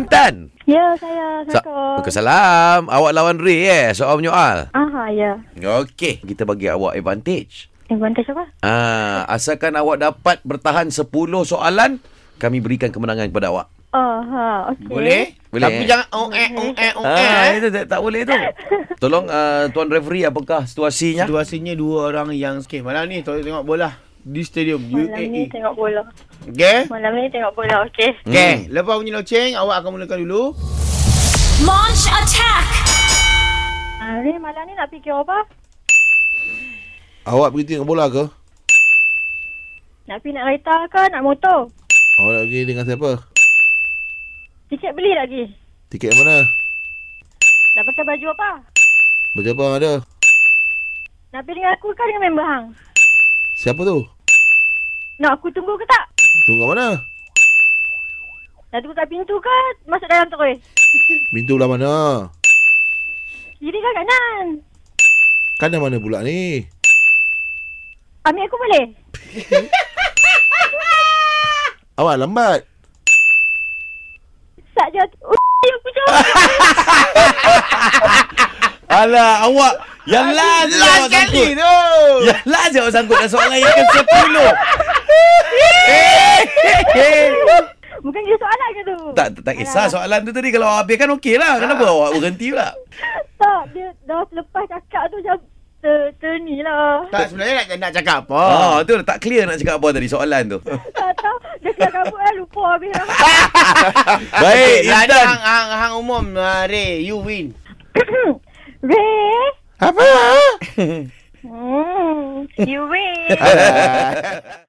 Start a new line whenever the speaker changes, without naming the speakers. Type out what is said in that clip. Intan.
Ya, saya.
Sa-
Assalamualaikum.
Waalaikumsalam. Awak lawan Ray eh soal menyoal.
Aha, ya.
Okey, kita bagi awak advantage.
Advantage apa?
Ah, asalkan awak dapat bertahan 10 soalan, kami berikan kemenangan kepada awak.
Oh, ha, okey.
Boleh?
Boleh,
Tapi
eh?
jangan ong eh ong eh ong
Ah,
eh.
itu tak, tak boleh tu. Tolong uh, tuan referee apakah situasinya?
Situasinya dua orang yang sikit. Malam ni tengok, tengok bola di stadium
Malam ni
UAE.
tengok bola.
Okey?
Malam ni tengok bola, okey.
Okey,
Hmm.
lepas bunyi loceng awak akan mulakan dulu.
Launch attack!
Ha, ni malam ni nak fikir apa?
Awak pergi tengok bola ke?
Nak pergi nak kereta ke nak motor?
Awak nak pergi dengan siapa?
Tiket beli lagi.
Tiket yang mana?
Nak pakai baju apa?
Macam apa ada?
Nak pergi dengan aku ke dengan member hang?
Siapa tu?
Nak aku tunggu ke tak?
Tunggu kat mana?
Nak tunggu kat pintu ke masuk dalam terus?
Pintu belah mana?
Kiri ke kanan?
Kanan Kan mana pula ni?
Ambil aku boleh?
Awak lambat.
Sat je. Uh, aku jauh.
Alah, awak yang last je awak sangkut.
tu.
Yang last je awak sangkut dan soalan yang ke-10. Eh.
Bukan kira soalan ke tu?
tak, tak, tak kisah soalan tu tadi. Kalau awak habiskan okey lah. Kenapa awak berhenti pula?
Tak, dia dah selepas cakap tu macam ter, ter ni lah.
Tak sebenarnya nak, nak cakap apa.
Ah, tu tak clear nak cakap apa tadi soalan tu.
Tak tahu Dia kena kabut kan Lupa habis
Baik, Intan.
Hang, hang, hang umum uh, Ray, you win.
Ray
Apa?
hmm, You win